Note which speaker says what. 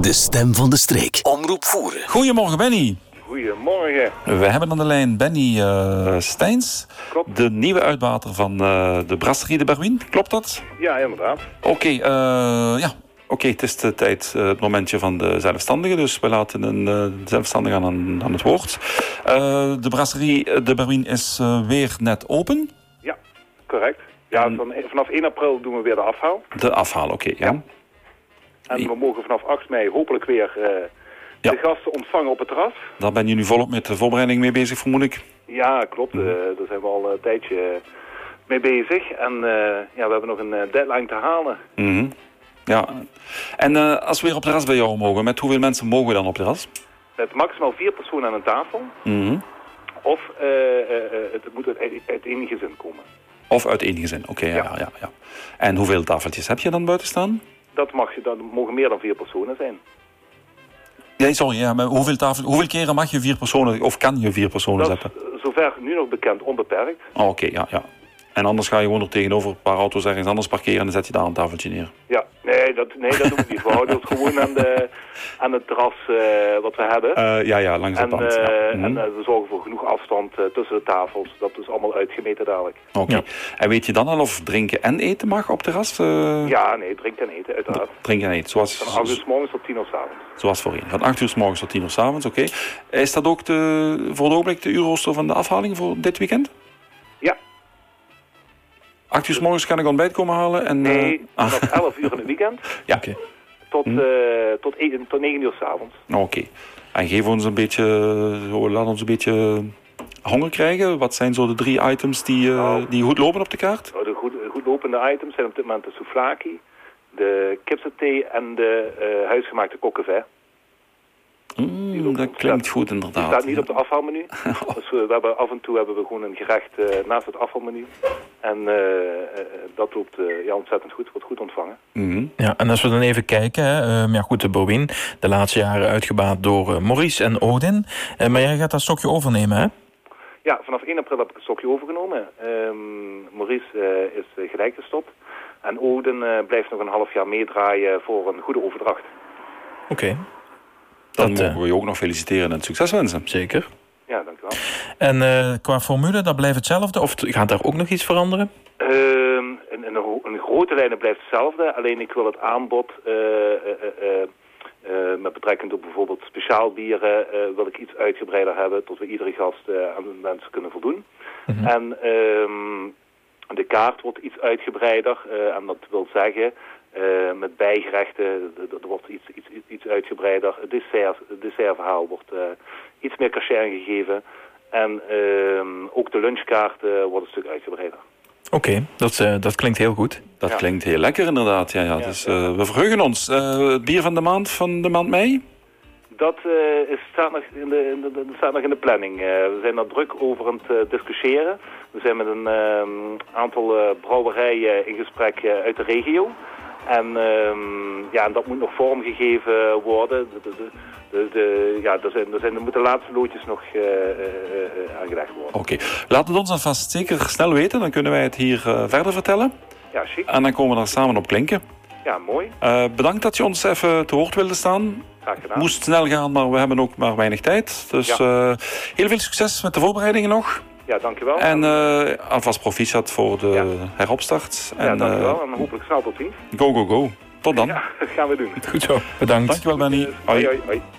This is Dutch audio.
Speaker 1: De stem van de streek. Omroep voeren.
Speaker 2: Goedemorgen, Benny.
Speaker 3: Goedemorgen.
Speaker 2: We hebben aan de lijn Benny eh Steins,
Speaker 3: Klopt.
Speaker 2: de nieuwe uitbater van eh, de Brasserie de Berwin. Klopt dat?
Speaker 3: Ja, inderdaad.
Speaker 2: Oké, eh, ja. Oké, het is de tijd, eh, het momentje van de zelfstandigen. Dus we laten een eh, zelfstandige aan, aan het woord. Eh, de Brasserie de Berwin is eh, weer net open.
Speaker 3: Ja, correct. Ja, van, vanaf 1 april doen we weer de afhaal.
Speaker 2: De afhaal, oké, ja.
Speaker 3: En we mogen vanaf 8 mei hopelijk weer eh,
Speaker 2: Ja.
Speaker 3: de gasten ontvangen op het terras.
Speaker 2: Daar ben je nu volop met de voorbereiding mee bezig, vermoed ik.
Speaker 3: Ja, klopt. eh, daar zijn we al een tijdje eh, mee bezig. En eh, ja, we hebben nog een eh, deadline te halen.
Speaker 2: Mhm. Ja. En eh, als we weer op terras bij jou mogen, met hoeveel mensen mogen we dan op terras?
Speaker 3: Met maximaal vier personen aan een tafel.
Speaker 2: Mhm.
Speaker 3: Of eh, eh, eh, het moet uit, uit één gezin komen.
Speaker 2: Of uit één gezin, oké, ja, ja.
Speaker 3: Ja.
Speaker 2: Ja, ja. En hoeveel tafeltjes heb je dan buiten staan?
Speaker 3: Dat, mag, je- dat mogen meer dan vier personen zijn.
Speaker 2: Nee, sorry, ja, maar hoeveel, tafel, hoeveel keren mag je vier personen, of kan je vier personen
Speaker 3: Dat is
Speaker 2: zetten?
Speaker 3: eh, zover nu nog bekend onbeperkt.
Speaker 2: Oh, oké, ja, ja. En anders ga je gewoon er tegenover een paar auto's ergens anders parkeren en dan zet je daar een tafeltje neer.
Speaker 3: Ja, nee, dat, nee, dat doen we niet. We houden het gewoon aan, de, aan het terras eh, wat we hebben.
Speaker 2: Eh, ja, ja, langs het
Speaker 3: en
Speaker 2: pand.
Speaker 3: eh,
Speaker 2: ja. Mhm.
Speaker 3: en eh, we zorgen voor genoeg afstand eh, tussen de tafels. Dat is allemaal uitgemeten dadelijk.
Speaker 2: Oké. En weet je dan al of drinken en eten mag op terras? Eh,
Speaker 3: Ja, nee, drink en eten, uiteraard.
Speaker 2: Drinken en eten, zoals,
Speaker 3: Van 8 uur 's morgens tot 10 uur 's avonds.
Speaker 2: zoals voorheen. Van 8 uur s morgens tot 10 uur s avonds, oké. Is dat ook de, voor het ogenblik de uurrooster van de afhaling voor dit weekend?
Speaker 3: Ja,
Speaker 2: 8 uur s morgens kan ik ontbijt komen halen en... eh,
Speaker 3: nee,
Speaker 2: ah, Mhm.
Speaker 3: vanaf 11 uur in het weekend
Speaker 2: ja,
Speaker 3: tot, eh, tot, 1, tot 9 uur 's avonds.
Speaker 2: Nou, Oké. En geef ons een beetje, zo, laat ons een beetje honger krijgen. Wat zijn zo de drie items die, eh,
Speaker 3: Nou.
Speaker 2: die goed lopen op de kaart?
Speaker 3: Nou, de goed, goed lopende items zijn op dit moment de souvlaki, de kipsethee en de eh, huisgemaakte kokkevij.
Speaker 2: Mm,
Speaker 3: lopen
Speaker 2: dat
Speaker 3: op de
Speaker 2: klinkt
Speaker 3: kaart.
Speaker 2: goed
Speaker 3: Die
Speaker 2: inderdaad.
Speaker 3: staat niet op de afhaalmenu. Dus we, we hebben, af en toe hebben we gewoon een gerecht eh, naast het afhaalmenu. En eh, eh, dat loopt eh, ja, ontzettend goed, wordt goed ontvangen.
Speaker 2: Mhm.
Speaker 4: Ja, en als we dan even kijken, hè, ehm, ja goed, de Bowin, de laatste jaren uitgebaat door eh, Maurice en Odin. Eh, maar jij gaat dat stokje overnemen, hè?
Speaker 3: Ja, vanaf 1 april heb ik het stokje overgenomen. Ehm, Maurice eh, is eh, gelijk gestopt. En Oden eh, blijft nog een half jaar meedraaien voor een goede overdracht.
Speaker 4: Oké,
Speaker 2: Dan
Speaker 4: Dat, eh,
Speaker 2: mogen we je ook nog feliciteren en succes wensen.
Speaker 4: zeker.
Speaker 3: Ja, dankjewel.
Speaker 4: En eh, qua formule, dat blijft hetzelfde? Of t- gaat daar ook nog iets veranderen?
Speaker 3: Ehm een, een, gro- een grote lijnen blijft hetzelfde. Alleen ik wil het aanbod... eh, eh, eh, eh, eh, met betrekking tot bijvoorbeeld speciaal bieren eh, wil ik iets uitgebreider hebben... tot we iedere gast eh, aan de mensen kunnen voldoen. En ehm, de kaart wordt iets uitgebreider. eh, en dat wil zeggen, eh, met bijgerechten d- d- er wordt iets, iets, iets uitgebreider. Het dessert, het dessertverhaal wordt eh, iets meer cachet gegeven. En ehm, ook de lunchkaart eh, wordt een stuk uitgebreider.
Speaker 4: Oké, dat, eh, dat klinkt heel goed.
Speaker 2: Dat
Speaker 3: Ja.
Speaker 2: klinkt heel lekker inderdaad. Ja, ja. dus eh, we verheugen ons. Eh, het bier van de maand, van de maand mei?
Speaker 3: Dat eh, is, staat, nog in de, in de- de- staat nog in de planning. Eh, we zijn daar druk over aan het eh, discussiëren. We zijn met een ehm, aantal eh, brouwerijen in gesprek eh, uit de regio. En ehm, ja, en dat moet nog vormgegeven worden. De, de, de, de- de- ja, er, zijn, er, zijn, er moeten de laatste loodjes nog eh, eh, eh, aangelegd worden.
Speaker 2: Oké. Laat het ons dan vast zeker snel weten. Dan kunnen wij het hier eh, verder vertellen.
Speaker 3: Ja, chic.
Speaker 2: En dan komen we daar samen op klinken.
Speaker 3: Ja, mooi.
Speaker 2: Eh, bedankt dat je ons even te woord wilde staan.
Speaker 3: Graag gedaan.
Speaker 2: moest snel gaan, maar we hebben ook maar weinig tijd. Dus
Speaker 3: Ja.
Speaker 2: eh, heel veel succes met de voorbereidingen nog.
Speaker 3: Ja, dankjewel.
Speaker 2: En eh, alvast proficiat voor de
Speaker 3: Ja.
Speaker 2: heropstart.
Speaker 3: ja,
Speaker 2: En
Speaker 3: dankjewel. en hopelijk snel tot ziens.
Speaker 2: eh, go, go, go. Tot dan.
Speaker 3: Ja, dat gaan we doen.
Speaker 4: Goed zo, bedankt.
Speaker 2: Dankjewel, Benny. Hoi.
Speaker 3: hoi, hoi.